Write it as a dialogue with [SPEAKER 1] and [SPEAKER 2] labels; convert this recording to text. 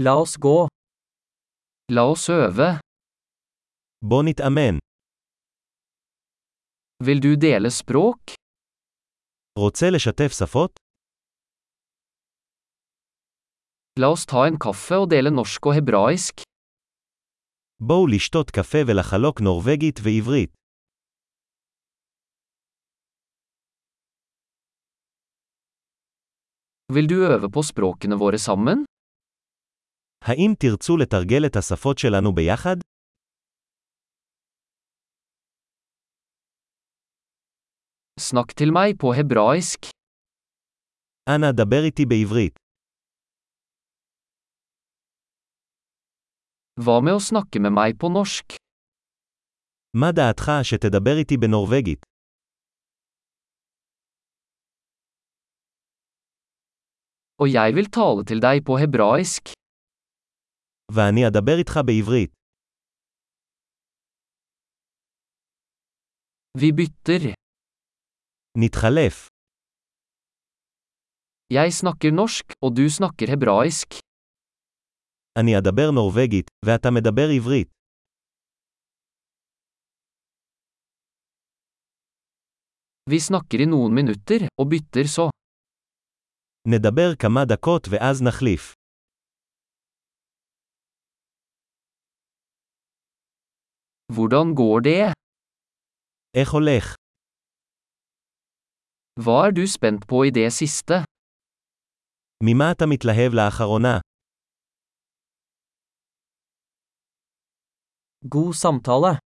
[SPEAKER 1] La oss gå. La oss øve.
[SPEAKER 2] בוא נתאמן.
[SPEAKER 1] Vil du dele språk?
[SPEAKER 2] רוצה לשתף שפות?
[SPEAKER 1] La oss ta en kaffe og dele norsk og hebraisk.
[SPEAKER 2] בואו לשתות קפה ולחלוק נורבגית ועברית.
[SPEAKER 1] Vil du øve på språkene våre sammen?
[SPEAKER 2] האם תרצו לתרגל את השפות שלנו ביחד?
[SPEAKER 1] Snakk til meg på hebraisk.
[SPEAKER 2] אנא דבר איתי בעברית.
[SPEAKER 1] Hva med å snakke med meg på norsk?
[SPEAKER 2] מה דעתך שתדבר איתי בנורבגית?
[SPEAKER 1] Og jeg vil tale til deg på hebraisk.
[SPEAKER 2] ואני אדבר איתך בעברית.
[SPEAKER 1] Vi bytter.
[SPEAKER 2] נתחלף.
[SPEAKER 1] Jeg snakker norsk, og du snakker hebraisk.
[SPEAKER 2] אני אדבר נורבגית, ואתה מדבר עברית.
[SPEAKER 1] Vi snakker i noen minutter, og bytter så.
[SPEAKER 2] נדבר כמה דקות ואז נחליף.
[SPEAKER 1] Hvordan går det?
[SPEAKER 2] איך הולך?
[SPEAKER 1] Hva er du spent på i det siste?
[SPEAKER 2] ממה אתה מתלהב לאחרונה?
[SPEAKER 1] God samtale.